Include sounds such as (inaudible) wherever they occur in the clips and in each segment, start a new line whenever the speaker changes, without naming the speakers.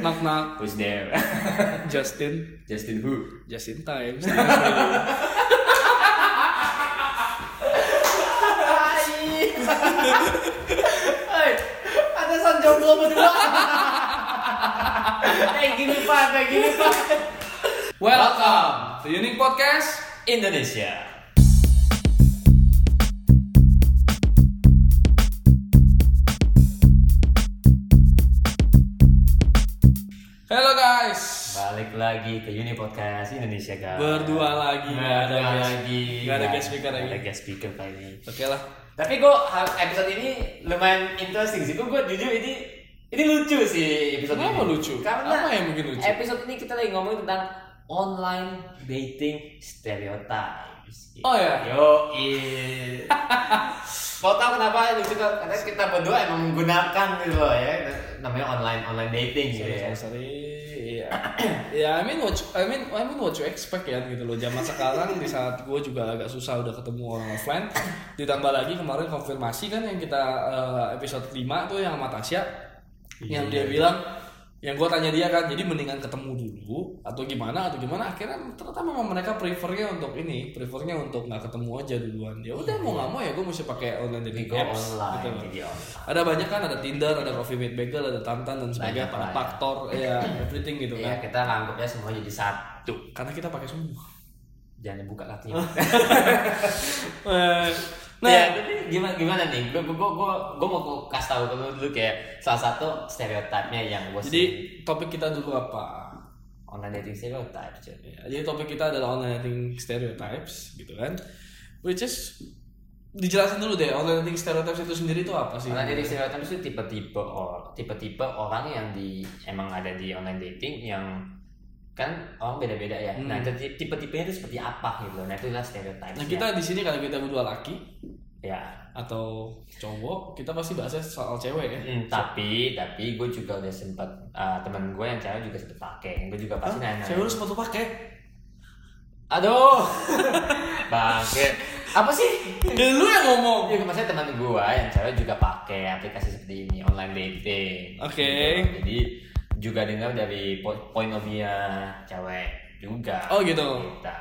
knock knock.
Who's there? (laughs)
Justin,
Justin who?
Justin time.
Ada San Jomblo berdua. kayak gini pak, kayak gini pak.
Welcome to Unique Podcast.
Indonesia.
Hello guys.
Balik lagi ke Uni Podcast Indonesia guys.
Berdua lagi, nggak ada
Berdua
guest-
lagi.
nggak ada
Nggak-
guest speaker
nggak
lagi.
Ada guest speaker kali ini.
Oke lah.
Tapi gue episode ini lumayan interesting sih. Gue jujur ini ini lucu sih episode
Kenapa
ini.
lucu?
Karena
Apa yang bikin lucu?
Episode ini kita lagi ngomongin tentang online dating stereotypes.
Oh ya?
Yo, iya. Mau tahu kenapa lucu kan? Karena kita berdua emang menggunakan gitu loh ya, namanya online online dating gitu ya.
Sorry, sorry. Iya. (clears throat) Ya, I mean what you, I mean I mean what you expect ya gitu loh. Zaman sekarang di saat gue juga agak susah udah ketemu orang offline. Ditambah lagi kemarin konfirmasi kan yang kita eh, episode 5 tuh yang sama Tasya yang
Iya.
dia bilang yang gue tanya dia kan jadi mendingan ketemu dulu atau gimana atau gimana akhirnya ternyata memang mereka prefernya untuk ini prefernya untuk nggak ketemu aja duluan ya udah mau nggak mau ya gue mesti pakai online dating
Iya, Go
apps
online
gitu loh
jadi online.
ada banyak kan ada Tinder ada Coffee Meet Bagel ada Tantan dan sebagainya
Banyak lah ya.
faktor
(laughs)
ya everything gitu
Ya
kan
kita nganggupnya semua jadi satu.
karena kita pakai semua
Jangan dibuka
(laughs)
kakinya.
Eh, nah
Nah, tapi gimana gimana nih? Gue gue gue gue mau ku- kasih tahu ke lu dulu kayak salah satu stereotipnya yang gue
jadi topik kita dulu apa
online dating stereotype cuy.
Ya, jadi topik kita adalah online dating stereotypes gitu kan which is dijelasin dulu deh online dating stereotypes itu sendiri itu apa sih
Online dating stereotype itu tipe-tipe or, tipe-tipe orang yang di emang ada di online dating yang kan orang beda-beda ya.
Hmm.
Nah, itu ti- tipe-tipenya itu seperti apa gitu. Nah, itulah stereotype.
nah kita di sini kalau kita berdua laki
ya.
atau cowok kita pasti bahasnya soal cewek ya
Hmm, tapi tapi gue juga udah sempet eh, temen gue yang cewek juga sempet pakai. Gue juga pasti
Hah?
nanya.
cewek lu sepatu pakai
Aduh. (laughs) Bangke. Apa sih?
Ya, lu yang ngomong
Ya, maksudnya teman gua yang cewek juga pakai aplikasi seperti ini online dating.
Oke.
Gitu. Jadi juga dengar dari po- point of view cewek juga.
Oh, gitu.
Kita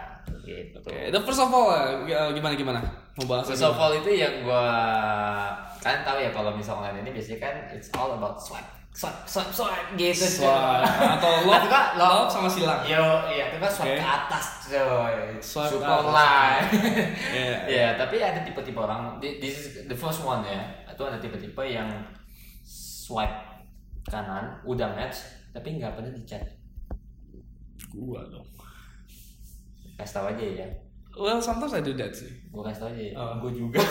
gitu.
Oke, the first of all eh, gimana gimana? Mau bahas
First of all itu yang gua kan tahu ya kalau misal online ini biasanya kan it's all about swipe swipe swipe swipe gitu. cuy.
Swipe. (laughs) Atau love,
Atau enggak, love.
love sama silang.
Yo, iya, itu kan
Oke.
swipe ke atas, coy.
Swipe ke
Super
atas.
(laughs) line.
Iya.
Ya, tapi ada tipe-tipe orang. thi- This is the first one ya. Itu ada tipe-tipe yang swipe kanan, udah match, tapi nggak pernah di chat.
Gua dong.
Kasih tau aja ya.
Well, sometimes I do that sih.
Gue kasih tau aja. Ya.
Oh.
Gue
(laughs)
juga.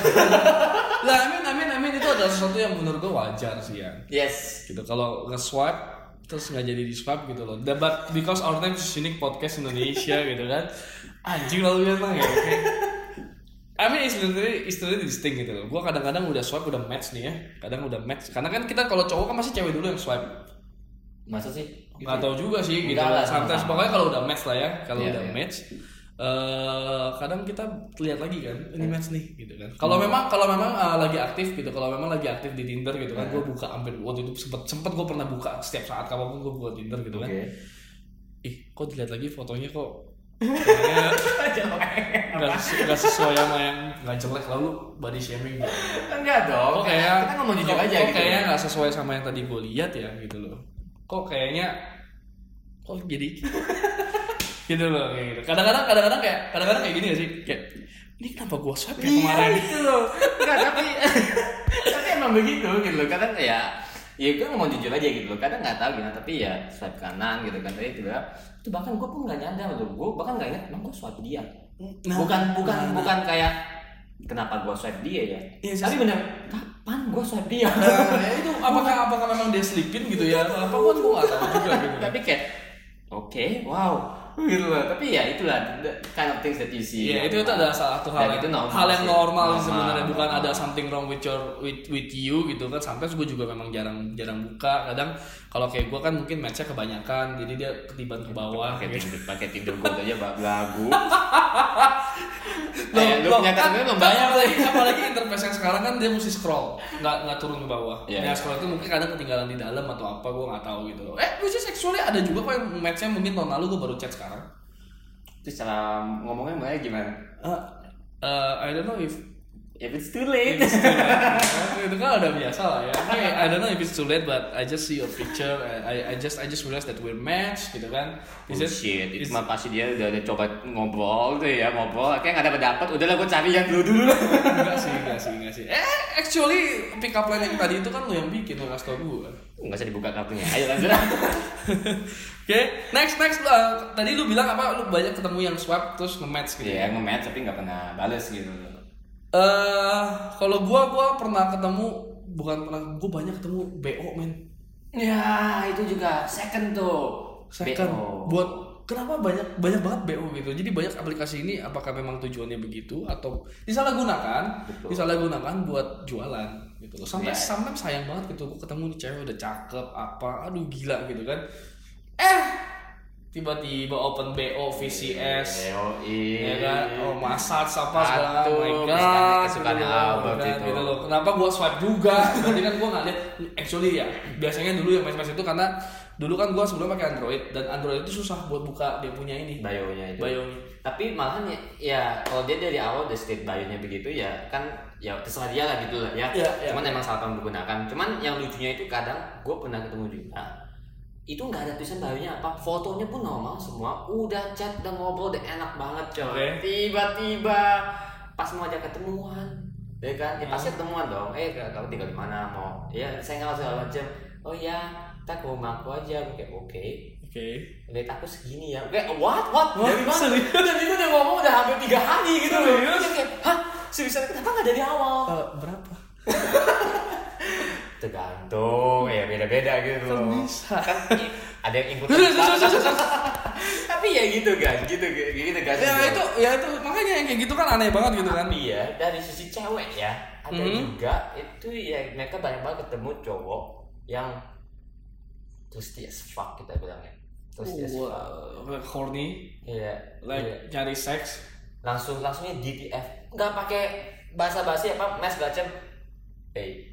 Lah, amin amin amin itu adalah sesuatu yang menurut gua wajar sih ya.
yes.
Gitu kalau nge-swipe terus nggak jadi di swipe gitu loh. The- But because our name is unique podcast Indonesia (laughs) gitu kan. Anjing lalu bilang ya. oke. I mean it's literally, it's literally this thing gitu loh. Gua kadang-kadang udah swipe udah match nih ya. Kadang udah match. Karena kan kita kalau cowok kan masih cewek dulu yang swipe.
Masa sih?
nggak tahu juga sih gitu
Enggak lah,
sometimes
sama-sama.
pokoknya kalau udah match lah ya kalau
Iya,
udah
iya.
match eh kadang kita lihat lagi kan ini
Iya.
match nih gitu kan kalau memang kalau memang eh, lagi aktif gitu kalau memang lagi aktif di Tinder gitu
Iya.
kan gue buka hampir waktu itu sempet sempet gue pernah buka setiap saat kapanpun gue buka Tinder gitu kan
Oke.
ih kok dilihat lagi fotonya
(laughs)
kok kayaknya nggak ses- nggak sesuai sama yang nggak jelek lalu body shaming gitu
Enggak dong.
kok kayak
kita ngomong jujur
kok-
aja
kok
gitu.
kayaknya nggak sesuai sama yang tadi gue lihat ya gitu loh kok kayaknya kok jadi (laughs) gitu loh kayak gitu kadang-kadang kadang-kadang kayak kadang-kadang kayak gini gak sih kayak ini kenapa gue swipe ya
Iya
kemarin
itu loh. Enggak, tapi (laughs) tapi emang begitu gitu loh. Kadang ya ya gue ngomong jujur aja gitu loh. Kadang nggak tahu gimana tapi ya swipe kanan gitu kan tadi tiba itu bahkan gue pun nggak nyadar loh. Gue bahkan nggak ingat emang gue swipe dia.
Nah,
bukan bukan
nah, nah.
bukan kayak kenapa gue swipe dia ya.
Iya,
tapi bener kapan gue swipe
(laughs)
dia?
Nah, itu apakah apakah memang dia selipin gitu ya atau
Iya.
apa gue gue nggak tahu juga gitu
tapi kayak oke wow gitu loh. Tapi ya itulah the kind of things that you see. gitu
Iya, itu itu adalah salah satu hal
Dan
yang,
itu normal
hal yang
sih.
normal, sih
Normal,
sebenarnya bukan
normal.
ada something wrong with your with with you gitu kan. Sampai gue juga memang jarang jarang buka. Kadang kalau kayak gue kan mungkin matchnya kebanyakan, jadi dia ketiban ke bawah.
pakai
gitu.
tinder pakai tinder gold aja bak- lagu Nah, ya, lu punya kan
banyak
membayar
lagi apalagi interface yang sekarang kan dia mesti scroll nggak nggak turun ke bawah
Iya,
nah
iya.
scroll itu mungkin kadang ketinggalan di dalam atau apa gue nggak tahu gitu eh which is actually ada juga kok yang matchnya mungkin tahun lalu gue baru chat sekarang
Terus cara ngomongnya mulai gimana?
Eh,
Ah.
eh, I don't know if
If it's too late.
it's too late. (laughs) itu kan udah biasa lah ya Oke, I don't know if it's too late but I just see your picture I I just I just realized that we're matched gitu kan
Oh,
Is it-
Bullshit,
is-
itu mah pasti dia udah, udah coba ngobrol tuh ya, ngobrol Kayak gak dapet-dapet, udahlah gue cari yang dulu
(laughs)
dulu (laughs)
enggak sih enggak sih enggak sih eh actually pick up line yang tadi itu kan lo yang bikin lo kasih tau gue (laughs)
Gak usah dibuka kartunya, ayo lanjut
Oke, next next uh, tadi lu bilang apa lu banyak ketemu yang swab terus nge-match gitu.
Iya, nge-match tapi gak pernah bales gitu
Eh, kalau gua gua pernah ketemu bukan pernah gua banyak ketemu BO men.
Ya, itu juga second tuh
Second
BO.
buat kenapa banyak banyak banget BO gitu. Jadi banyak aplikasi ini apakah memang tujuannya begitu atau disalahgunakan,
Betul.
disalahgunakan buat jualan gitu loh. Sampai
Iya.
sampai sayang banget gitu gua ketemu nih cewek udah cakep apa aduh gila gitu kan. Eh tiba-tiba open BO VCS
Yoi.
ya kan oh massage apa segala
Atuh,
oh my
kesukaan-
god
kesukaan
gitu loh,
Albert
kan,
itu.
gitu loh kenapa gua swipe juga (laughs) berarti kan gua nggak lihat actually ya biasanya dulu yang match-match itu karena dulu kan gua sebelum pakai android dan android itu susah buat buka dia punya ini
Bayonya itu
bayonya
tapi malahan ya, ya kalau dia dari awal udah state bio-nya begitu ya kan ya terserah dia lah gitu lah ya
Iya, iya.
cuman emang salah menggunakan cuman yang lucunya itu kadang gue pernah ketemu juga itu nggak ada tulisan bio-nya apa fotonya pun normal semua udah chat udah ngobrol udah enak banget coy
Oke.
tiba-tiba pas mau ajak ketemuan ya kan ya pasti ketemuan dong eh kamu tinggal di mana mau ya saya nggak segala macam oh ya kita ke rumahku aja oke oke
oke
Rate aku segini ya. Kayak what what?
Wah,
Dari mana?
serius?
Dan itu udah ngomong udah hampir tiga hari gitu loh.
Serius?
Terus kayak, hah? Seriusan kenapa nggak dari awal?
Eh, berapa
Tergantung, ya beda-beda gitu.
Kan bisa.
Kan i- ada yang ikut.
Terus, terus, terus, terus, terus.
Tapi ya gitu guys, gitu gitu guys.
ya itu ya itu makanya yang kayak gitu kan aneh banget gitu kan
Tapi ya dari sisi cewek ya ada
Hmm.
juga itu ya mereka banyak banget ketemu cowok yang thirsty as fuck kita bilangnya. Thirsty as fuck.
Wah, like horny
Iya.
like
iya.
cari seks
langsung langsungnya DTF nggak pakai bahasa basi apa mes macam hey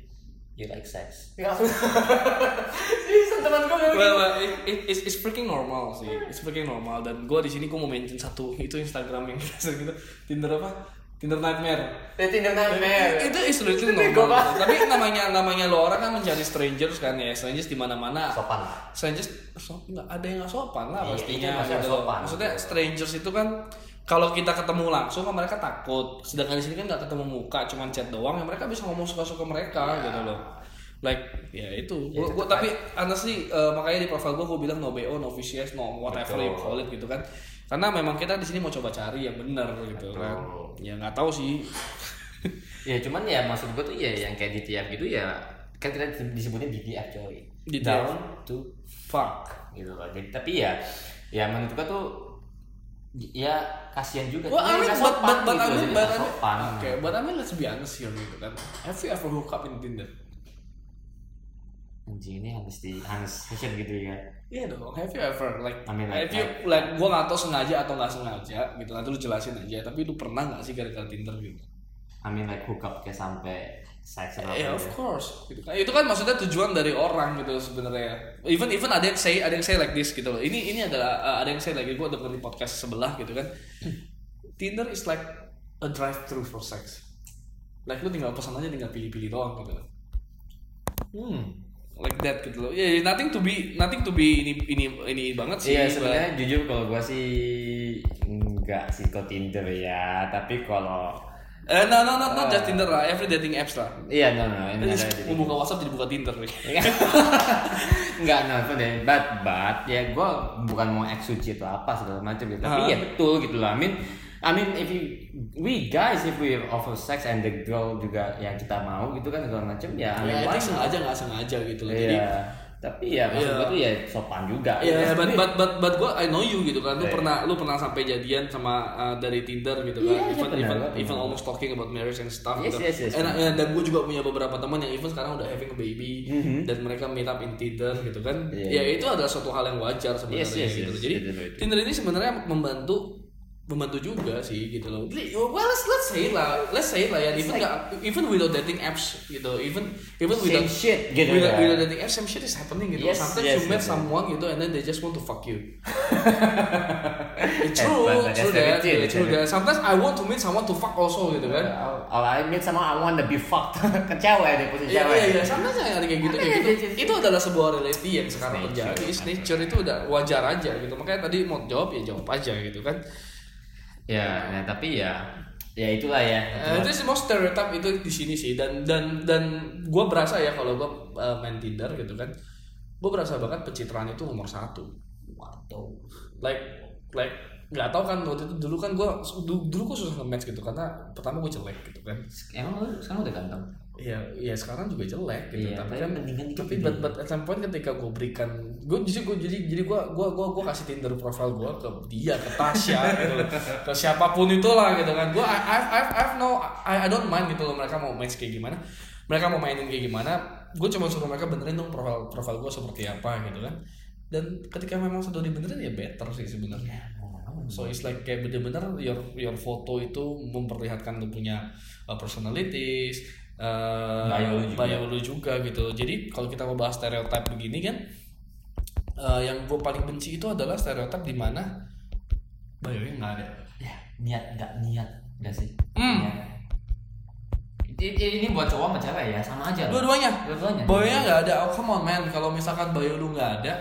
you like sex (laughs) langsung seriusan teman gue bilang
Well,
gitu.
well, it, it, it's, it's freaking normal sih. It's freaking normal dan gue di sini gue mau mention satu itu Instagram yang (laughs) biasa gitu. Tinder apa? Tinder nightmare.
dari Tinder nightmare
Itu is literally
Itu bego
normal. Tapi namanya namanya lo orang kan mencari strangers kan ya. Strangers di mana-mana.
sopan lah
Strangers so, nggak ada yang nggak sopan lah
Iya,
pastinya.
iya, pasti ada
gitu loh.
sopan.
Maksudnya strangers itu kan kalau kita ketemu langsung kan mereka takut. Sedangkan di sini kan nggak ketemu muka, cuman chat doang. Ya mereka bisa ngomong suka-suka mereka gitu loh. Like ya itu.
Iya. Ya,
Gua, gua-
tetep
tapi honestly eh, makanya di profile gua gua bilang no BO, no VCS, no whatever
Betul.
you call it gitu kan. Karena memang kita di sini mau coba cari yang bener gitu
Betul.
kan. Ya nggak tahu sih.
ya cuman ya maksud gue tuh ya yang kayak DTF gitu ya kan kita disebutnya DTF coy
DTF.
down to
Fuck.
gitu loh Jadi, tapi ya ya menurut gue tuh ya kasihan juga
Well, I
Jadi
mean,
nggak
but,
sopan
but, but, I
gitu,
mean,
jadi
but, I
nggak
mean,
sopan
okay, but I mean, let's be honest here gitu kan. Have you ever hook up in Tinder?
anjing ini harus di harus session gitu ya
Iya dong, have you ever like,
I mean,
have
like-
you like, gua nggak tahu sengaja atau nggak sengaja gitu, nanti lu jelasin aja. Tapi lu pernah nggak sih gara-gara Tinder gitu?
I mean like hook up kayak sampai seks atau apa
Ya
gitu.
of course. Gitu kan. Itu kan maksudnya tujuan dari orang gitu sebenarnya. Even even ada yang say ada yang say like this gitu loh. Ini ini adalah uh, ada yang say lagi gua dengerin podcast sebelah gitu kan. (clears throat) Tinder is like a drive through for sex. Like lu tinggal pesan aja tinggal pilih-pilih doang gitu. Hmm. Like that gitu loh. Ya yeah, nothing to be nothing to be ini ini ini banget sih.
Iya
but-
sebenarnya jujur kalau gua sih enggak sih kok Tinder ya, tapi kalau
Eh, no no no not just Tinder lah, every dating apps lah.
iya no no ini Ah.
(laughs)
ada Nah,
Mau buka WhatsApp jadi buka Tinder nih.
Enggak no itu deh, but but ya gua bukan mau ex suci atau apa segala macam gitu, tapi
Hah?
ya betul gitu loh. I mean I mean if you, we guys if we offer sex and the girl juga yang kita mau gitu kan segala macam ya I mean,
Ya,
why
itu
not?
sengaja nggak sengaja gitu loh. Jadi
Iya. Tapi ya maksud
Iya.
gua tuh ya sopan juga.
Iya,
Maksud
but,
gua
but, but, but gue I know you gitu kan. Lu
Iya.
pernah lu pernah sampai jadian sama uh, dari Tinder gitu kan.
Iya, iya,
even
pernah,
even,
pernah.
even almost talking about marriage and stuff
Yes,
gitu.
yes, yes,
And,
pernah.
yeah, dan gue juga punya beberapa teman yang even sekarang udah having a baby
Mhm.
dan mereka meet up in Tinder gitu kan.
Iya,
ya
iya.
itu adalah suatu hal yang wajar sebenarnya
Yes, yes,
gitu.
yes,
Jadi
betul, betul.
Tinder ini sebenarnya membantu membantu juga sih gitu loh. Well, let's let's say lah, let's say lah ya, even nggak- even without dating apps gitu, even even
Same
without
shit, gitu
without,
ya.
without dating apps, same shit is happening gitu.
Yes,
Sometimes
yes,
you met
yes, yes.
someone gitu, and then they just want to fuck
(laughs)
you. It's
Eh,
true,
bahasa
true
dasar
that,
kecil,
yeah, true
dasar
that. Sometimes I want to meet someone to fuck also gitu kan.
All I mean sama I want to be fucked (laughs) ke cewek deh posisi
Iya
cewek.
iya iya, sama saya ada kayak gitu kayak
Makanya
gitu.
dia-
Itu adalah sebuah reality yang sekarang
Nature.
terjadi. It's Nature itu udah wajar aja gitu. Makanya tadi mau jawab ya jawab aja gitu kan.
Ya, nah, tapi ya ya itulah ya.
Eh, itu semua stereotip itu di sini sih dan dan dan gue berasa ya kalau gue main Tinder gitu kan, gue berasa banget pencitraan itu nomor satu.
Waduh.
Like like nggak tahu kan waktu itu dulu kan gue dulu, dulu gue susah nge-match gitu karena pertama gue jelek gitu kan.
Emang lu sekarang udah ganteng?
Iya, iya sekarang juga jelek gitu.
Iya,
tapi
tapi
kan
mendingan dikit
tapi
dulu.
but, but at some point ketika gue berikan gue justru gue jadi jadi gue gue gue gue kasih Tinder profile gue ke dia ke Tasya (laughs) gitu loh. ke siapapun itulah gitu kan gue I I I I've no I, I don't mind gitu loh mereka mau match kayak gimana mereka mau mainin kayak gimana gue cuma suruh mereka benerin dong profile profile gue seperti apa gitu kan dan ketika memang sudah dibenerin ya better sih
Iya,
sebenarnya So it's like kayak bener-bener your your foto itu memperlihatkan lu punya uh, personalities, uh,
Bio lu juga.
bio lu juga gitu. Jadi kalau kita mau bahas stereotip begini kan, uh, yang gue paling benci itu adalah stereotip di mana bio-nya nggak ada.
Ya, niat nggak niat nggak sih? Iya.
Hmm.
Niat. Ini, ini buat cowok sama cewek ya sama aja. loh.
Dua-duanya.
Dua-duanya.
Bio-nya nggak ada. Oh come on man, kalau misalkan bio lu nggak ada,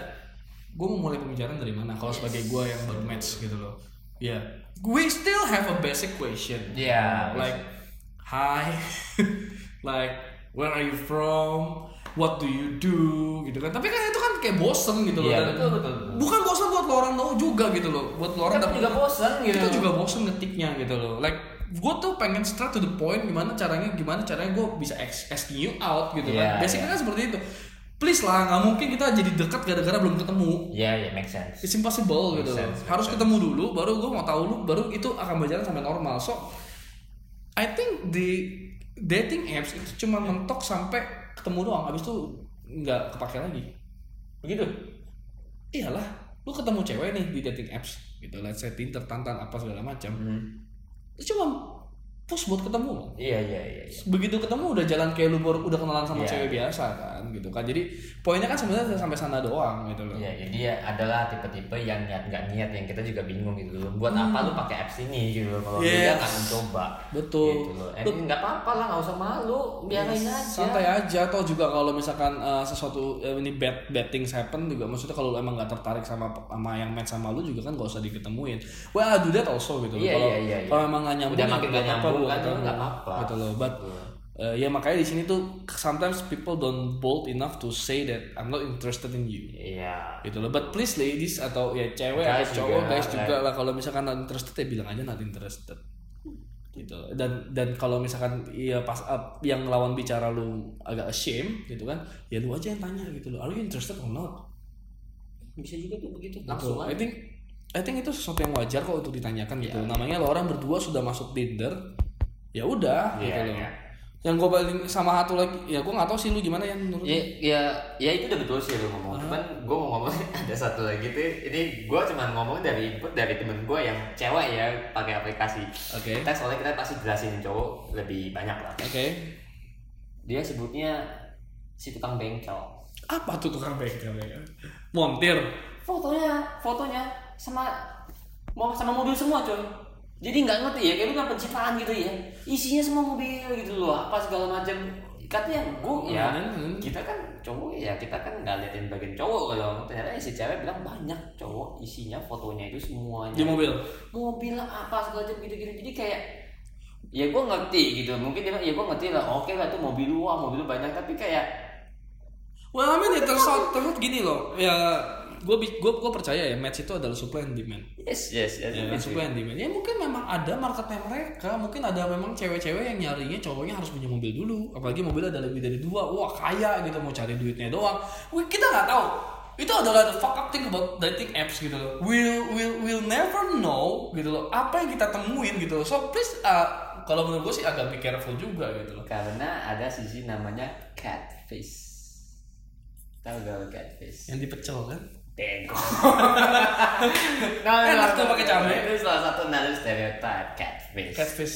gue mau mulai pembicaraan dari mana? Kalau sebagai gue yang baru match gitu loh. Ya, we still have a basic question.
Iya.
like hi (laughs) like where are you from what do you do gitu kan tapi kan itu kan kayak bosen gitu loh
Iya,
Dan-
betul, betul, betul.
bukan bosen buat lo orang tahu juga gitu loh buat lo orang dapet-
Tapi juga bosen gitu.
itu juga bosen ngetiknya gitu loh like gue tuh pengen straight to the point gimana caranya gimana caranya gue bisa ex- asking you out gitu
Iya,
kan basically kan seperti itu please lah nggak mungkin kita jadi dekat gara-gara belum ketemu
Iya, ya make sense.
It's impossible gitu loh.
sense, makes
Harus ketemu dulu, baru gue mau tahu lu, baru itu akan berjalan sampai normal. So, I think the dating apps itu cuma mentok sampai ketemu doang, abis itu nggak kepake lagi. Begitu? Iyalah, lu ketemu cewek nih di dating apps, gitu. Let's say Tinder, Tantan, apa segala macam.
Hmm.
Itu cuma push buat ketemu.
Iya, iya, iya. iya.
Begitu ketemu udah jalan kayak lu baru udah kenalan sama
Iya.
cewek biasa kan, gitu kan. Jadi poinnya kan sebenarnya sampai sana doang gitu loh.
Iya, jadi ya adalah tipe-tipe yang niat nggak niat yang kita juga bingung gitu loh. Buat apa lu pakai apps ini gitu loh? Kalau
Hmm. Yes.
dia nggak mencoba.
Betul.
Gitu Iya, loh. And nggak apa-apa lah, nggak usah malu, biarin aja.
santai aja atau juga kalau misalkan eh, sesuatu eh, ini bad bad things happen juga maksudnya kalau lu emang nggak tertarik sama sama yang match sama lu juga kan gak usah diketemuin well I do that also gitu loh
Iya,
kalau
iya, iya, iya.
kalau emang nggak nyambung
Udah
ya
makin nggak
apa-apa,
nyambung
gua
kan,
ketemu.
nggak apa-apa.
gitu loh but
Betul.
eh, ya makanya di sini tuh sometimes people don't bold enough to say that I'm not interested in you
Iya.
gitu loh but please ladies atau ya cewek
Guys
atau cowok
juga,
guys juga
like-
lah kalau misalkan not interested ya bilang aja not interested gitu dan dan kalau misalkan ya pas up yang lawan bicara lu agak ashamed gitu kan ya lu aja yang tanya gitu loh are you interested or not
Bisa juga tuh begitu.
Gitu.
Langsung
I
aja. Iya.
think I think itu sesuatu yang wajar kok untuk ditanyakan gitu namanya lo orang berdua sudah masuk Tinder ya udah
Iya,
gitu loh
iya.
yang gue paling sama satu lagi ya gue nggak tahu sih lu gimana yang menurut
Ya, ya, ya itu udah betul sih lu ngomong. Cuman gue mau ngomong (laughs) ada satu lagi tuh. Ini gue cuman ngomong dari input dari temen gue yang cewek ya pakai aplikasi.
Oke.
Kita soalnya kita pasti jelasin cowok lebih banyak lah.
oke
Dia sebutnya si tukang bengkel.
apa tuh tukang bengkel ya montir
Fotonya, fotonya sama mau sama mobil semua coy. Jadi nggak ngerti ya, kayak lu kan pencitraan gitu ya. Isinya semua mobil gitu loh, apa segala macam. Katanya gue ya,
Hmm.
kita kan cowok ya kita kan nggak liatin bagian cowok kalau ternyata si cewek bilang banyak cowok isinya fotonya itu semuanya
di mobil
mobil lah, apa segala macam gitu-gitu jadi kayak ya gue ngerti gitu mungkin dia bilang, ya gue ngerti lah oke lah itu mobil lu wah mobil lu banyak tapi kayak
Well, I mean, ya, terus terus gini loh. Ya, gue gue gue percaya ya match itu adalah supply and demand.
yes yes yes,
Ya, kan?
yes, yes.
supply and demand. Ya mungkin memang ada marketnya mereka. Mungkin ada memang cewek-cewek yang nyarinya cowoknya harus punya mobil dulu. Apalagi mobil ada lebih dari dua. Wah kaya gitu mau cari duitnya doang. Wih, kita nggak tahu. Itu adalah the fuck up thing about dating apps gitu loh. We'll we'll we'll never know gitu loh. Apa yang kita temuin gitu loh. So please, uh, kalau menurut gue sih agak be careful juga gitu loh.
karena ada sisi namanya catfish tahu gak lo catfish (laughs)
Yang dipecel kan?
Bego. Nah,
Enak tuh pakai cabai.
Itu salah satu another stereotype catfish.
catfish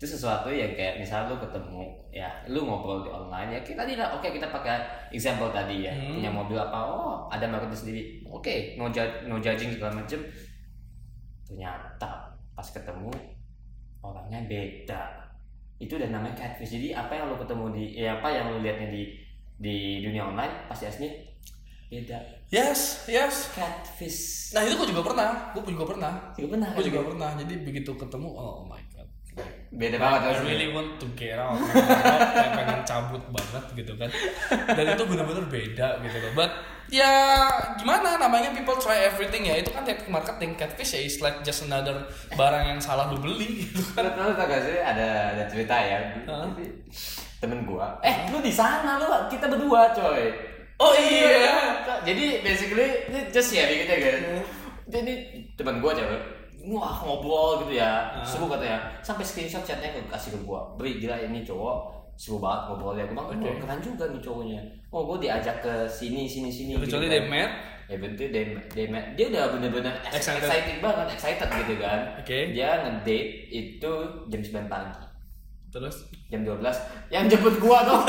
itu sesuatu yang kayak misal lu ketemu ya lu ngobrol di online ya kita tidak oke kita pakai example tadi ya
Hmm.
punya mobil apa oh ada marketnya sendiri oke no, jud- no judging segala macem ternyata pas ketemu orangnya beda itu udah namanya catfish jadi apa yang lu ketemu di ya apa yang lu lihatnya di di dunia online pasti aslinya beda
yes yes
catfish
nah itu gue juga pernah gue juga pernah
juga pernah
gue
kan?
juga pernah jadi begitu ketemu oh my god
beda banget
I
aslinya.
really want to get out kayak pengen cabut banget gitu kan dan itu bener-bener beda gitu loh but ya gimana namanya people try everything ya itu kan teknik marketing catfish ya is like just another barang yang salah lu beli gitu
Terus lu tau gak sih ada ada cerita ya
Hah?
temen gua eh lu di sana lu kita berdua coy
Oh, iya.
jadi basically ini just sharing aja kan jadi temen gua coy wah ngobrol gitu ya seru katanya sampai screenshot chatnya ke kasih ke gua beri gila ini cowok seru banget ngobrolnya gua bilang oh,
Oke.
keren juga nih cowoknya oh gua diajak ke sini sini sini gitu
kecuali
kan.
they met
Ya bentuk dia, dia, dia udah bener-bener ex-
Excited.
excited banget, excited gitu kan.
Oke.
Dia ngedate itu jam 9 pagi.
terus
Jam 12 yang jemput gua dong.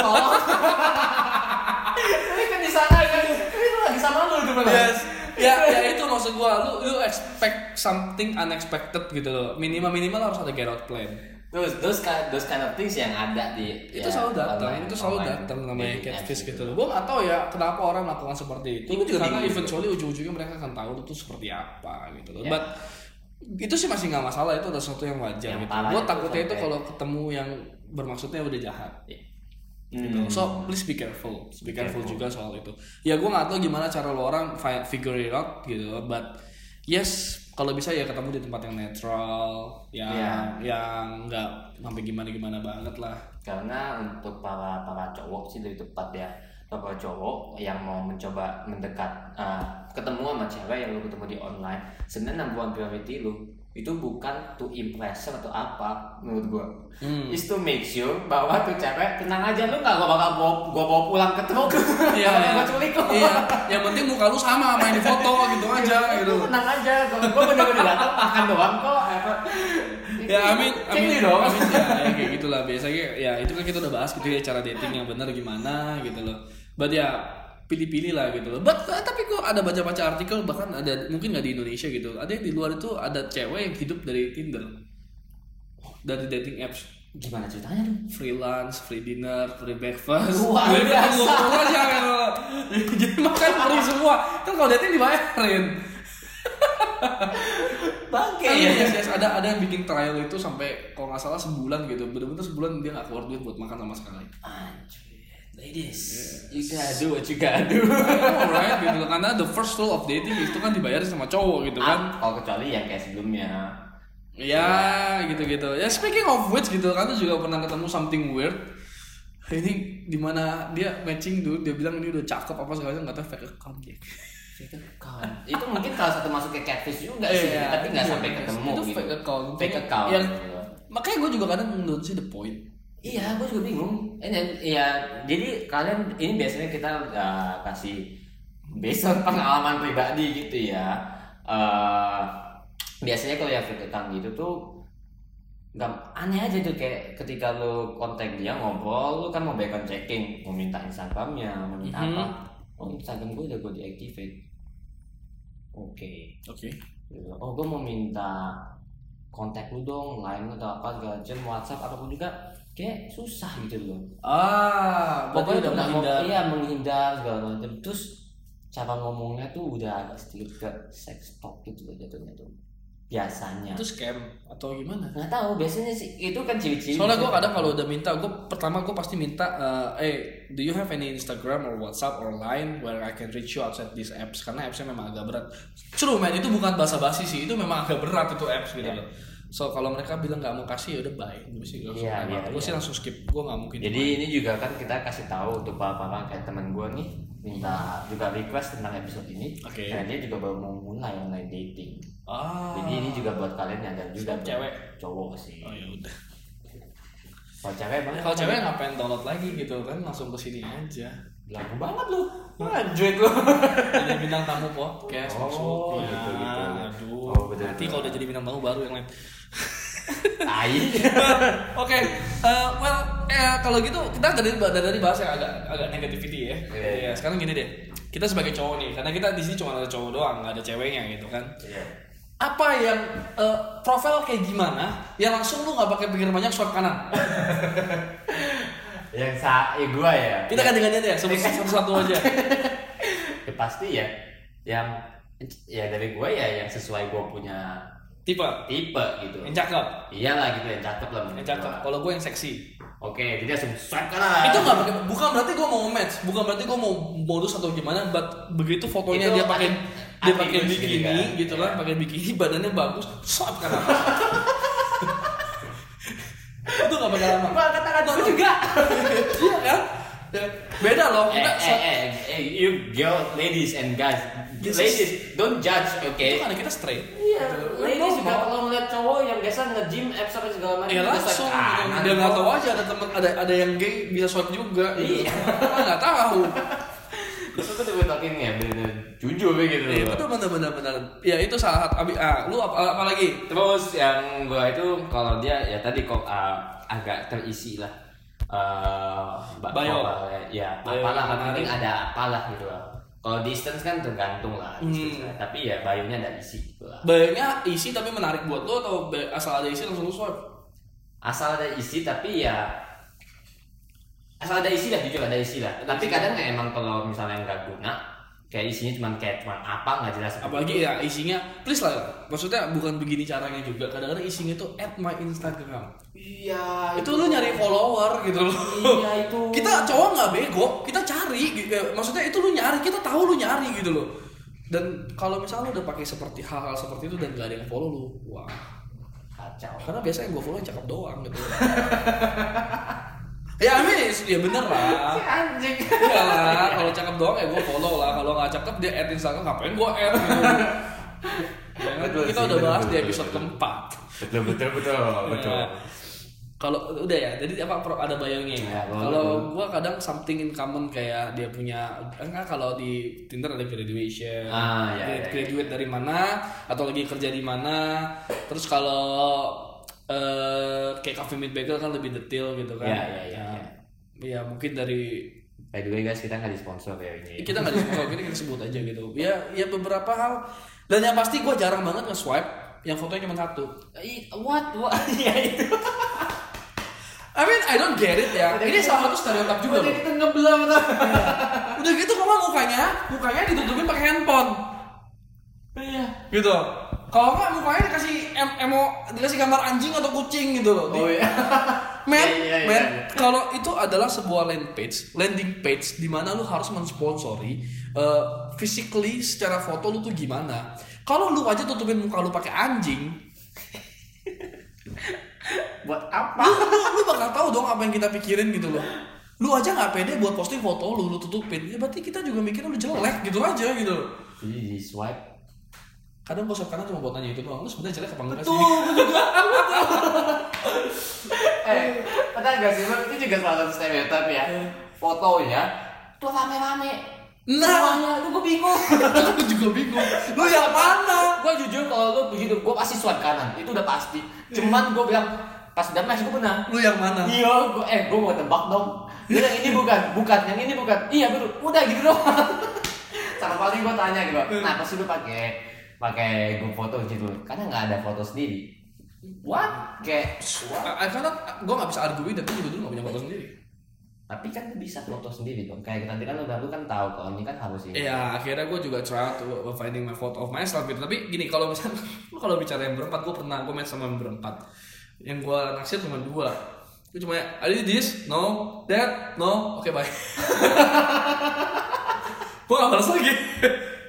Ini kan di sana kan. Ini lu lagi sama lu gitu
Yes. Ya, ya itu maksud gua. Lu lu expect something unexpected gitu loh. Minimal minimal harus ada get out plan.
Terus those kind, those kind of things yang ada di ya,
Itu selalu datang, itu selalu datang namanya
Iya,
catfish gitu loh. Gua nggak tahu ya kenapa orang melakukan seperti itu.
Gua juga
Karena
bingung. Iya.
eventually ujung-ujungnya mereka akan tahu itu seperti apa gitu loh. But itu sih masih nggak masalah itu adalah sesuatu yang wajar
Yang
gitu.
parah
Gua
itu
takutnya itu
sampai-
kalau ketemu yang bermaksudnya udah jahat. gitu.
Hmm.
So please be careful, be careful juga soal itu. Ya gue nggak tahu gimana cara lo orang fi- figure it out gitu, but yes kalau bisa ya ketemu di tempat yang netral, yang
Iya.
yang nggak sampai gimana gimana banget lah.
karena untuk para para cowok sih lebih tepat ya para cowok yang mau mencoba mendekat eh, ketemu sama cewek yang lu ketemu di online sebenarnya number one priority lu itu bukan to impress her atau apa menurut gua
Hmm.
is to make sure bahwa tuh cewek tenang aja lu nggak gua bakal bawa, gua bawa pulang ke truk
(laughs) Iya,
Bakal
iya.
gua culik lu
Iya, yang penting muka lu sama main di foto gitu aja gitu.
Lu (laughs) tenang aja gua gua bener-bener datang makan doang kok apa
Ya amin, amin
Cengli dong
amin, ya, ya kayak gitulah biasanya ya itu kan kita udah bahas gitu ya cara dating yang benar gimana gitu loh. But ya pilih-pilih lah gitu loh. But eh, tapi gua ada baca-baca artikel bahkan ada mungkin nggak di Indonesia gitu. Ada yang di luar itu ada cewek yang hidup dari Tinder, dari dating apps
gimana ceritanya tuh
free lunch, free dinner, free breakfast,
Luar
Jadi
biasa.
kita ngukur aja gitu loh. (laughs) Jadi makan free semua. Kan kalau dating dibayarin.
bangke
Kan
ya
yes, yes, ada ada yang bikin trial itu sampai kalau nggak salah sebulan gitu. Bener-bener sebulan dia nggak keluar duit buat makan sama sekali.
Anjir, ladies, Eh, you gotta do what you gotta
(laughs)
do.
Alright, gitu loh. Karena the first rule of dating itu kan dibayarin sama cowok gitu kan.
Ah, Kalau kecuali yang kayak sebelumnya.
Ya, gitu-gitu. Ya speaking of which gitu, kan tuh juga pernah ketemu something weird. Ini dimana dia matching dulu, dia bilang ini udah cakep apa segala macam, nggak tahu fake account dia.
Itu kawan. Itu mungkin salah satu masuk ke catfish juga sih,
Iya,
tapi nggak
iya,
sampai
iya.
ketemu
Itu
gitu.
fake account.
Fake account.
Yang
gitu.
makanya gue juga kadang menurut sih the point.
Iya, gue juga bingung. And then, Iya, jadi kalian ini biasanya kita uh, kasih based on pengalaman pribadi gitu ya. Uh, biasanya kalau yang fake account gitu tuh nggak aneh aja tuh kayak ketika lu kontak dia ngobrol lu kan mau background checking mau minta instagramnya mau minta
Mhm.
apa oh instagram gue udah gue deactivate oke
Oke.
Gitu. oh gue mau minta kontak lu dong lain atau apa segala macam whatsapp ataupun juga kayak susah gitu loh
Ah,
pokoknya
berarti
udah mau
menghindar.
iya menghindar segala macam terus cara ngomongnya tuh udah agak sedikit ke sex talk gitu loh jatuhnya tuh
iya,
biasanya
Itu scam atau gimana?
nggak tahu biasanya sih itu kan ciri-ciri
Soalnya gue kadang kalau udah minta, gue pertama gue pasti minta, eh hey, do you have any Instagram or WhatsApp or Line where I can reach you outside these apps? Karena appsnya memang agak berat. Seru men, itu bukan bahasa basi sih, itu memang agak berat itu apps gitu loh. So kalau mereka bilang nggak mau kasih ya udah bye, gue sih langsung,
Iya. Iya, iya,
gue sih
iya.
langsung skip, gue nggak mungkin.
jadi ini juga kan kita kasih tahu untuk para para kayak teman gue nih minta juga request tentang episode ini
Oke.
Nah, dia juga baru mau mulai online dating
ah,
jadi ini juga buat kalian yang ada juga
Siap, cewek.
cowok sih
oh ya udah.
kalau cewek kan emang
Kalau cewek ngapain download lagi gitu kan, langsung ke sini aja.
Laku banget lu. Anjrit lu.
jadi bintang tamu podcast
Oh,
maksudnya.
gitu, gitu.
aduh
Oh, betul,
nanti
betul.
kalau udah jadi bintang tamu baru yang lain (laughs)
Tai.
oke eh, well eh, kalau gitu kita dari dari bahas yang agak agak negativity ya
Iya.
Iya, sekarang gini deh kita sebagai cowok nih karena kita di sini cuma ada cowok doang nggak ada ceweknya gitu kan
Iya.
apa yang eh, profil kayak gimana yang langsung lu nggak pakai pikir banyak swipe kanan
Yang sa ya gua ya.
kita kan dengan deh sebut satu satu aja
Ya, pasti ya yang ya dari gua ya yang sesuai gua punya
tipe
tipe gitu.
yang cakep
Iyalah gitu yang cakep lah menurut
yang cakep
gua.
kalau gue yang seksi
Oke, jadi langsung swipe kanan.
itu nggak pakai bukan berarti gue mau match bukan berarti gue mau modus atau gimana but begitu fotonya
Itu
dia pakai
atri-
dia pakai
atribut
bikini
gitu kan.
gitu
Iya.
kan pakai bikini badannya bagus swipe
(laughs)
kan itu nggak pakai lama
Gua angkat tangan gua juga.
iya kan Ya, beda loh
Eh,
kita
eh, eh, eh, you girl, ladies and guys,
This
ladies, don't judge, oke?
itu kan kita straight Gitu.
eh. Iya,
Normal.
ladies juga kalau ngeliat cowok yang biasa nge-gym, abs apa segala macam. "Ah,
Ya
juga
langsung,
swipe
gitu.
kanan.
dia nggak tahu aja ada teman ada ada yang gay bisa swipe juga. gitu.
Iya.
Orang (laughs) nggak tahu.
(laughs) Terus itu gue tokin ya, bener-bener jujur kayak gitu.
Iya betul benar benar benar. Ya itu salah satu. abi- Ah, lu apa, apa lagi?
Terus yang gue itu kalau dia ya tadi kok ah, agak terisi lah. Eh, ba-
Bayo.
apa- ya
Bayo
apalah
yang
yang penting ada apalah gitu lah. Kalau distance kan tergantung lah, distance
Hmm.
lah. tapi ya bayonya ada isi gitu lah.
Bayangnya isi tapi menarik buat lo atau bay- asal ada isi langsung lo swipe?
asal ada isi tapi ya asal ada isi lah jujur ada isi lah tapi kadang ya emang kalau misalnya nggak guna kayak isinya cuma kayak cuma apa nggak jelas
Apalagi ya isinya, please lah. Maksudnya bukan begini caranya juga. Kadang-kadang isinya tuh add my Instagram.
iya
Itu lo nyari follower gitu loh.
iya itu
kita cowok nggak bego, kita cari. gitu. Eh, Maksudnya itu lu nyari, kita tahu lu nyari gitu loh. Dan kalau misalnya lu udah pakai seperti hal-hal seperti itu dan gak ada yang follow lu, wah.
kacau
Karena biasanya yang gue follow yang cakep doang gitu. ya, I mean, ya bener lah.
anjing
Enggak Iya lah, kalau cakep doang ya gue follow lah. Kalau nggak cakep dia add Instagram, ngapain gue
(laughs)
add? Ya kan?
Betul
kita
sih,
udah
betul,
bahas di
betul,
episode
betul.
keempat.
betul betul betul betul
Ya. Kalau udah ya, jadi apa pro ada bayangnya.
Ya, kalau-
kalau gua kadang something in common kayak dia punya enggak kalau di Tinder ada graduation.
Ah,
Grad-
ya, ya, ya.
graduate dari mana atau lagi kerja di mana. Terus kalau eh kayak Coffee Meet Bagel kan lebih detail gitu kan.
Ya, ya, ya,
Nah,
ya.
ya, mungkin dari
by the way guys kita nggak disponsor ya ini
kita nggak disebut kalau gini, kita sebut aja gitu ya ya beberapa hal dan yang pasti gue jarang banget nge swipe yang fotonya cuma satu
I- what
(laughs)
what
Iya,
ya itu
I mean I don't get it ya ini salah satu stereotip juga
gitu. Udah gitu.
loh
kita ngebelang tuh
udah gitu kamu mukanya mukanya ditutupin pakai handphone
iya
gitu kalau nggak mukanya dikasih em- emo dikasih gambar anjing atau kucing gitu loh
oh iya
Men,
Iya, iya,
men,
iya.
kalau itu adalah sebuah land page, landing page di mana lu harus mensponsori uh, physically secara foto lu tuh gimana. Kalau lu aja tutupin muka lu pakai anjing,
buat apa
lu, lu, lu bakal tahu dong apa yang kita pikirin gitu loh lu aja nggak pede buat posting foto lu lu tutupin ya berarti kita juga mikirnya lu jelek gitu aja gitu loh
jadi di swipe
kadang gue karena cuma buat nanya itu doang lu sebenarnya jelek apa enggak sih
Betul, juga. eh, padahal gak sih, Bang? itu juga salah satu stereotip
Iya.
ya. Fotonya tuh rame-rame.
Nah.
Semuanya, lu gue
(laughs)
bingung.
gue juga bingung lu yang mana
gue jujur kalau lu begitu, gue pasti swipe kanan. Itu udah pasti. Cuman gue bilang pas udah match gue pernah.
lu yang mana
Iya, gue eh gue mau tebak dong. Dia bilang, ini bukan, bukan, yang ini bukan. Iya betul. Udah gitu dong. (laughs) Sama paling gue tanya gitu.
Hmm.
Nah, pasti lu pakai pakai grup foto gitu. Karena nggak ada foto sendiri. What? Kayak what?
I- I cannot- gua nggak bisa arguin dan gue juga dulu nggak punya foto sendiri
tapi kan lu bisa foto sendiri dong kayak nanti kan udah lu kan tahu kalau ini kan harus ini
ya akhirnya gue juga try out to finding my photo of myself gitu tapi gini kalau misalnya (laughs) lu kalau bicara yang berempat gue pernah gue main sama yang berempat yang gue naksir cuma dua gue cuma ya, I did this no that no oke bye (laughs) gue gak balas lagi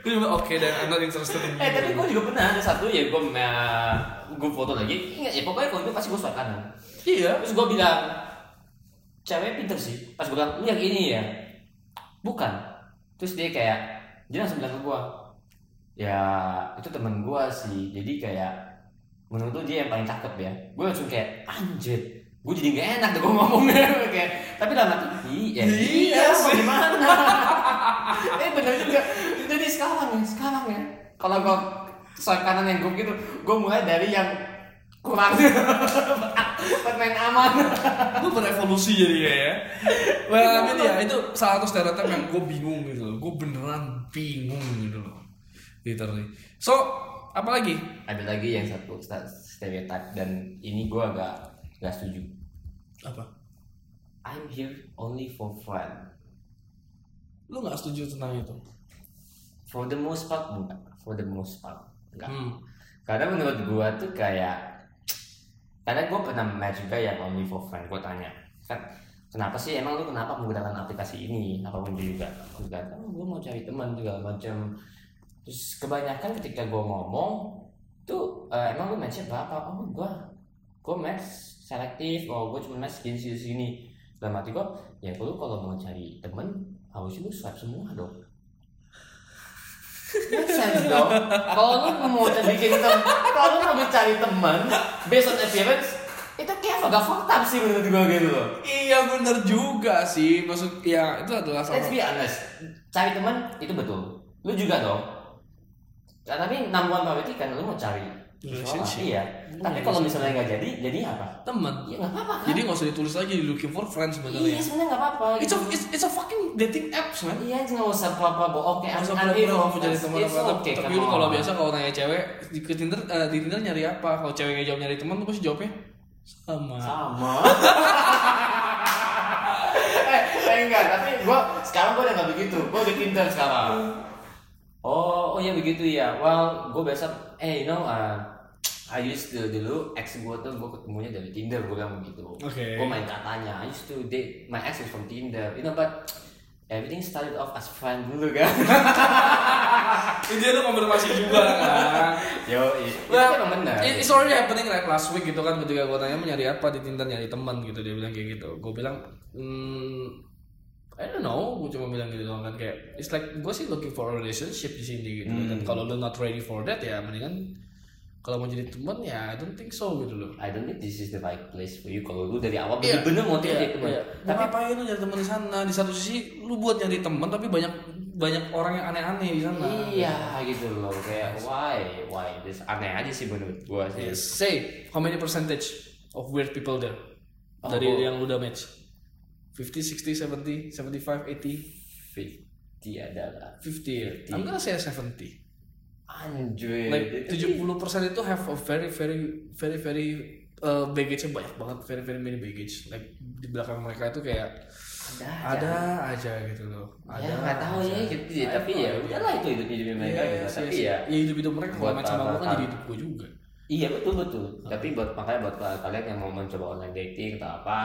gue cuma oke dan I'm not interested in
eh tapi
you
gue juga pernah ada satu ya gue gue foto lagi ingat ya pokoknya kalau itu pasti gue swipe kanan
iya
terus gue bilang cewek pinter sih pas gue bilang lu yang ini ya bukan terus dia kayak dia langsung bilang ke gue ya itu temen gue sih jadi kayak menurut lu dia yang paling cakep ya gue langsung kayak anjir gue jadi gak enak tuh gue ngomongnya (laughs) kayak tapi dalam hati iya
Iya
mau
sih.
gimana
(laughs)
eh bener juga jadi sekarang ya sekarang ya kalau gue swipe kanan yang gue gitu gue mulai dari yang kurang (laughs) buat main aman
lu berevolusi jadinya ya well I mean, ya itu salah satu stereotip yang gue bingung gitu loh gue beneran bingung gitu loh literally so apalagi
ada lagi yang satu sta- stereotype dan ini gue agak gak setuju
apa
I'm here only for fun
lu nggak setuju tentang itu
for the most part enggak for the most part enggak
hmm.
Karena menurut gua tuh kayak karena gua pernah match juga yang only for friend gua tanya kan kenapa sih emang lu kenapa menggunakan aplikasi ini apapun juga Gua kata oh, gua mau cari teman juga macam terus kebanyakan ketika gua ngomong tuh eh, emang lu matchnya berapa oh gua gua match selektif oh gua cuma match gini sini sini dalam hati gua ya lu kalau mau cari temen harusnya lu swipe semua dong Make sense dong. Kalau lu mau bikin temen, kalau lu mau mencari teman based on appearance, itu kayak agak fucked up sih menurut gua gitu loh.
iya bener juga sih maksud ya itu adalah salah
Let's be honest, cari teman itu betul. Lu juga dong. Nah, tapi number one priority kan lu mau cari
Relationship.
seorang, Iya. Tapi kalau misalnya nggak jadi, jadi apa?
temen
Ya nggak apa-apa kan?
jadi nggak usah ditulis lagi di looking for friends
Iya
sebenarnya
sebenarnya nggak apa-apa.
it's
gitu.
a it's, it's a fucking dating apps man
Iya nggak usah apa-apa bohong kayak
Masa
I'm- I'm
pura-pura
here.
mau jadi teman
Iya, kan, It's
apa
okay,
Tapi
come
lu kalau
on.
biasa kalau nanya cewek di ke Tinder eh, di Tinder nyari apa? Kalau cewek nggak jawab nyari teman lu pasti jawabnya sama.
sama (laughs) eh, eh, enggak tapi gua sekarang gua udah nggak begitu gua udah Tinder sekarang oh oh ya begitu ya well gua biasa eh you know uh, I used to dulu ex gua tuh gua ketemunya dari Tinder gua bilang begitu
Oke.
gua main katanya I used to date my ex is from Tinder you know but everything started off as friend dulu
(laughs)
kan (laughs)
Ini lu konfirmasi juga kan.
yo itu kan
Well,
emang bener
it- it's already happening like last week gitu kan ketika gue tanya "Mau nyari apa di Tinder nyari teman gitu dia bilang kayak gitu. Gue bilang hmm, I don't know, gue cuma bilang gitu doang kan kayak it's like gue sih looking for a relationship di sini gitu dan kalau lu not ready for that ya mendingan kalau mau jadi teman ya I don't think so gitu loh.
I don't think this is the right place for you kalau lu dari awal
Iya.
bener-bener mau
Iya,
jadi teman
iya.
tapi
Tapi ngapain lu nyari teman di sana? Di satu sisi lu buat nyari teman tapi banyak banyak orang yang aneh-aneh di sana.
Iya (laughs) gitu loh kayak why why this aneh aja sih menurut gua sih.
Yes. Say how many percentage of weird people there? Dari
Oh.
yang udah match. 50, 60, 70, 75, 80,
50 adalah
50 ya. I'm gonna say 70.
anjir.
Like
Itu-
70% itu have a very very very very uh, baggage banyak banget very very many baggage like di belakang mereka itu kayak
ada aja.
ada aja gitu loh ada
ya nggak tahu ya
aja.
gitu ya
I
tapi
have no
ya
idea.
udahlah itu hidup hidupnya mereka gitu
Yes,
tapi
yes.
ya
ya hidup hidup mereka kalau
Buat
main sama gue kan
apa-apa.
jadi hidup gue juga
iya betul betul tapi buat makanya buat kalian yang mau mencoba online dating atau apa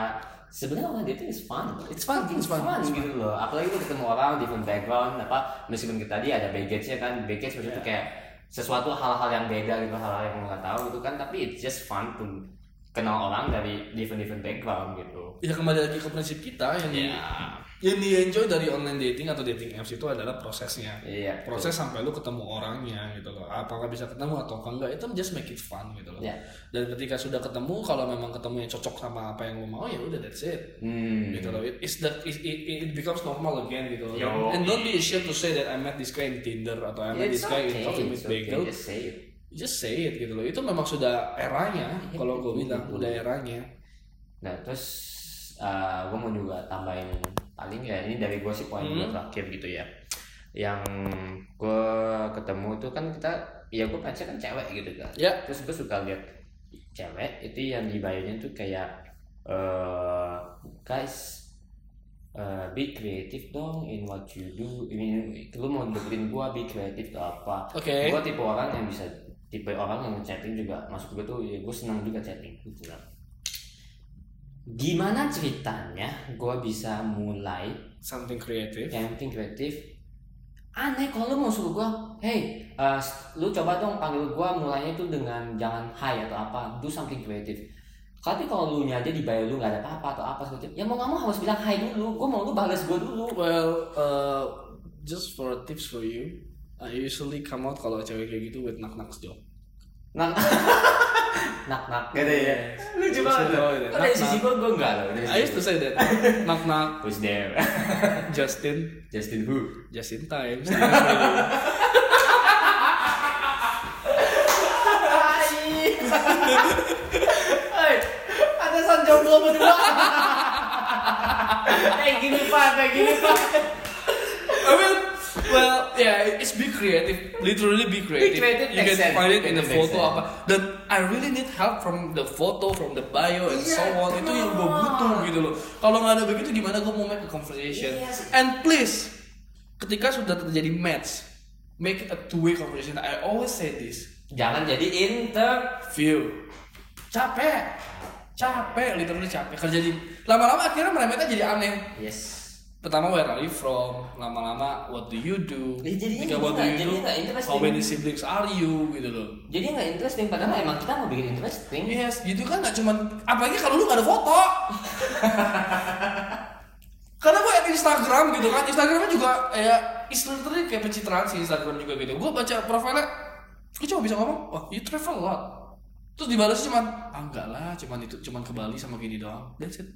sebenarnya online dating is fun
It's fun, it's fun, it's
gitu loh apalagi lu ketemu orang different background apa meskipun kita tadi ada baggage nya kan baggage maksudnya tuh
Iya.
kayak sesuatu hal-hal yang beda gitu hal-hal yang lu nggak tahu gitu kan tapi it's just fun to kenal orang dari different different background gitu
ya kembali lagi ke prinsip kita yang di-
Iya
yang di enjoy dari online dating atau dating apps itu adalah prosesnya
iya
proses sampai lu ketemu orangnya gitu loh apakah bisa ketemu atau enggak itu kan just make it fun gitu loh
ya
dan ketika sudah ketemu kalau memang ketemu yang cocok sama apa yang lu mau ya udah that's it
hmm
gitu loh It- it's the it, it, it becomes normal again gitu loh
Yo.
and don't be ashamed to say that I met this guy in Tinder atau I met this
It's
guy in
okay,
Coffee
it's
with
okay,
Bagel
just say it.
just say it gitu loh itu memang sudah eranya
(laughs)
kalau gue bilang udah eranya
Nah terus gue mau juga tambahin paling ya ini dari gue sih poin gua terakhir gitu ya. Yang gue ketemu tuh kan kita ya gue pacar kan cewek gitu kan.
Ya.
Terus gue suka lihat cewek itu yang di bio-nya tuh kayak eh guys eh, be creative dong in what you do. Ini lu mau deketin gue be creative atau apa?
oke
Gue tipe orang yang bisa tipe orang yang chatting juga. Maksud gue tuh ya gue senang juga chatting gitu lah. Gimana ceritanya gue bisa mulai
something creative
yang penting kreatif? Aneh kalau lu mau suruh gue, hey, uh, s- lu coba dong panggil gue mulainya tuh dengan jangan hi atau apa, do something creative. Tapi kalau lu nya aja di bio lu nggak ada apa-apa atau apa segala macam, ya mau nggak mau harus bilang hi dulu. Gue mau lu balas gue dulu.
well uh, just for tips for you I usually come out kalau cewek kayak gitu with knock knock job
Nah, nak nak
Gitu ya.
Lucu banget.
Lucu banget.
Kok dari sisi gue gue enggak loh.
I used to say that. knock knock.
Who's there?
Justin.
Justin who?
Just in time. (laughs)
Hei, ada san jomblo berdua. Kayak gini pak, kayak gini pak.
I mean, well, yeah, it's be creative. Literally be creative.
creative
you can
makes sense.
find it in the
Creative makes
photo
sense.
apa. Dan I really need help from the photo, from the bio and so on. Itu yang gue butuh gitu loh. Kalau nggak ada begitu gimana gue mau make a conversation? And please, ketika sudah terjadi match, make it a two-way conversation. I always say this.
Jangan jadi inter.
View. Capek. Capek, literally capek. Kerja di lama-lama akhirnya merembetnya jadi aneh
Yes.
pertama where are you from lama-lama what do you do
Eh, jadinya
Ketika
gitu
what do
nggak-
you do
jadinya nggak interesting.
how many siblings are you gitu loh
Jadi nggak interesting padahal emang kita mau bikin interesting.
yes gitu kan nggak cuman apalagi kalau lu nggak ada foto karena gue liat Instagram gitu kan Instagramnya juga ya it's literally kayak pencitraan sih Instagram juga gitu gue baca profilnya gue cuma bisa ngomong wah you travel a lot terus dibalas cuman ah enggak lah cuman itu cuman ke Bali sama gini doang that's it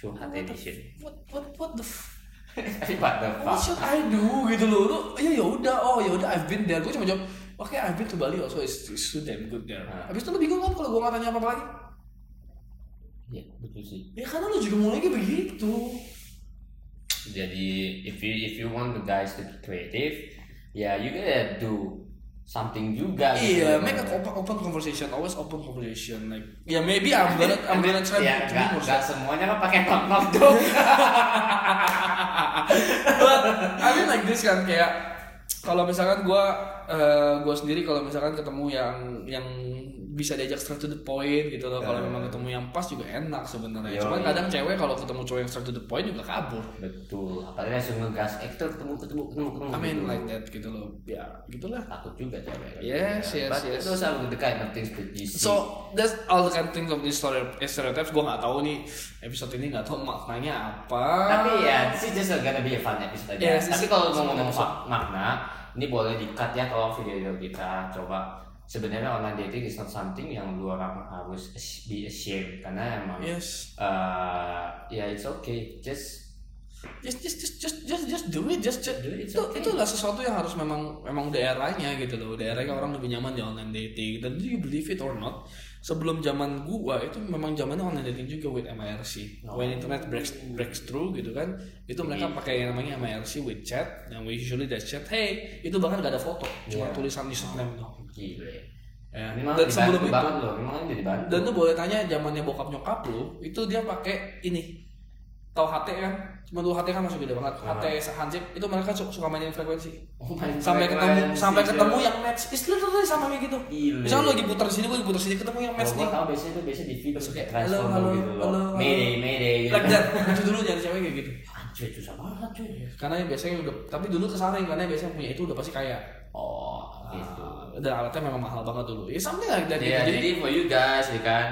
Curhat edition.
what what what the f-
Tapi what the
what
fuck?
should I do gitu loh lu ya ya udah oh ya udah I've been there gue cuma jawab oke I've been to Bali also it's, it's so damn good there
Nah.
habis itu lu bingung kan kalau gue nggak tanya apa apa lagi
Iya betul sih.
ya karena lu juga mulainya begitu
Jadi if you if you want the guys to be creative, ya you gotta do something juga. gitu.
iya make a open open conversation always open conversation like ya maybe I'm
(laughs)
gonna I'm gonna try
Ya,
to be
nggak-
more
nggak semuanya kan pakai knock knock dong. (laughs)
I mean like this kan kayak kalau misalkan gue gue sendiri kalau misalkan ketemu yang yang bisa diajak straight to the point gitu loh kalau memang ketemu yang pas juga enak sebenarnya
Eh. Yo,
cuman
iya.
kadang cewek kalau ketemu cowok yang straight to the point juga kabur
Betul. Apalagi langsung ngegas, eh kita ketemu ketemu ketemu ketemu.
I mean
gitu.
like that gitu loh ya gitulah
takut juga cewek.
Yes, yes,
But
yes.
Those are the kind of things that you see.
so that's all the kind of things of these stereo- stereotypes gue nggak tahu nih episode ini nggak tahu maknanya apa
tapi ya, this is just gonna be a fun episode aja.
Yes, this-
Tapi kalau mau
this-
ngomong soal makna, ini boleh di-cut ya kalau video kita coba. Sebenarnya online dating is not something yang lu orang harus as- be ashamed karena emang
yes
uh, ya it's okay just
just just just just just just do it just, just
Do it, it's
itu
okay.
itulah sesuatu yang harus memang memang daerahnya gitu loh daerahnya orang lebih nyaman di online dating dan do you believe it or not sebelum zaman gua itu memang zamannya online dating juga with MIRC
Oh.
when internet breaks breaks through gitu kan itu mereka
Iya.
pakai yang namanya MIRC with chat yang we usually that chat hey itu bahkan gak ada foto cuma
Iya.
tulisan username doang
gile
Ya,
memang
dan sebelum
dibantu
itu
banget loh memang ini dibantu
dan lu boleh tanya zamannya bokap nyokap lu itu dia pakai ini tahu HT kan cuma dulu HT kan masih gede banget
Ah.
HT Hansip itu mereka su- suka mainin frekuensi
Oh my
sampai
God,
ketemu
keren
sampai
sih,
ketemu
Jel.
yang match it's literally sama kayak gitu
Gile.
misalnya lu lagi putar sini gue lagi putar sini ketemu yang
Kalau
match
gua
nih
tahu biasanya tuh biasanya di video
Terus
kayak
kayak, halo,
transformer
halo,
gitu loh
halo, halo.
mayday mayday gitu
Lek, itu dulu jangan cewek kayak gitu
anjir susah banget cuy
karena yang biasanya udah tapi dulu kesaring karena yang biasanya punya itu udah pasti kaya
oh gitu
Ah, dan alatnya memang mahal banget dulu ya something like that
Iya,
gitu.
jadi for you guys, ya kan,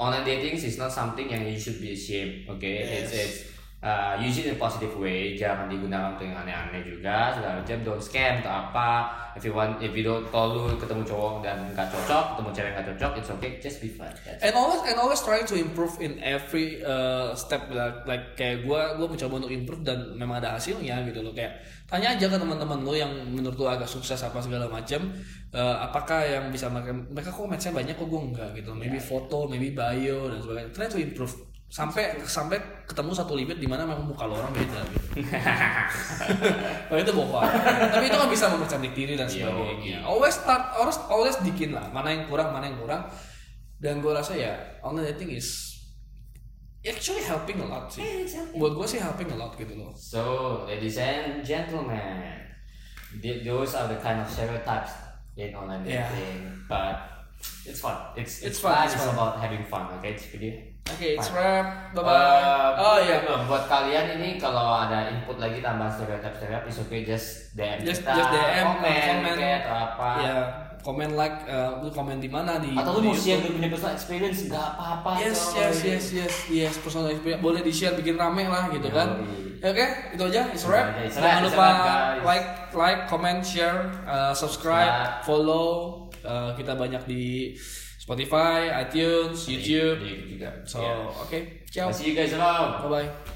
online dating is not something yang you should be ashamed, oke?
Yes.
It's it's uh, use it in a positive way, jangan digunakan untuk yang aneh-aneh juga, segala macam, don't scam atau apa. If you want, if you don't, kalau lu ketemu cowok dan nggak cocok, ketemu cewek nggak cocok, it's okay, just be fun. That's it.
And always and always trying to improve in every uh, step like, like kayak gue gue mencoba untuk improve dan memang ada hasilnya gitu loh kayak tanya aja ke teman-teman lo yang menurut lo agak sukses apa segala macam uh, apakah yang bisa mereka mereka kok matchnya banyak kok gue enggak gitu maybe foto maybe bio dan sebagainya try to improve sampai sampai ketemu satu limit di mana memang muka lo orang beda gitu. Nah, itu bohong. Tapi itu kan bisa mempercantik diri dan
Iya,
sebagainya.
oke.
Always start, always always bikin lah. Mana yang kurang, mana yang kurang. Dan gue rasa ya online dating is actually helping a lot sih. Buat gue sih helping a lot gitu loh.
So, ladies and gentlemen, th- those are the kind of stereotypes in online
Yeah.
dating, but it's fun. It's
It's fun, it's
It's,
fun.
about having fun, okay? It's pretty
Oke, it's
Fine.
wrap. Bye
Eh,
bye. oh iya.
belum. Buat kalian ini kalau ada input lagi tambahan stereotip stereotip, is okay just DM
Just-
kita,
just DM,
komen,
komen.
kayak atau apa.
Ya, komen like, eh, lu komen di mana di
Atau lu
di
mau share
YouTube.
lu punya personal experience nggak apa-apa.
Iya. Yes,
coy.
yes, yes, yes, yes, personal experience boleh di share bikin rame lah gitu kan.
Yoi.
Ya, Oke, itu aja. It's a
Itu
wrap.
aja, it's a wrap,
Jangan
it's a
lupa
wrap, guys.
like, like, comment, share, uh, subscribe,
Nah.
follow. Uh, kita banyak di Spotify, iTunes, YouTube.
YouTube juga.
So,
Yeah.
okay. Ciao.
Ya. See you guys around.
Bye-bye.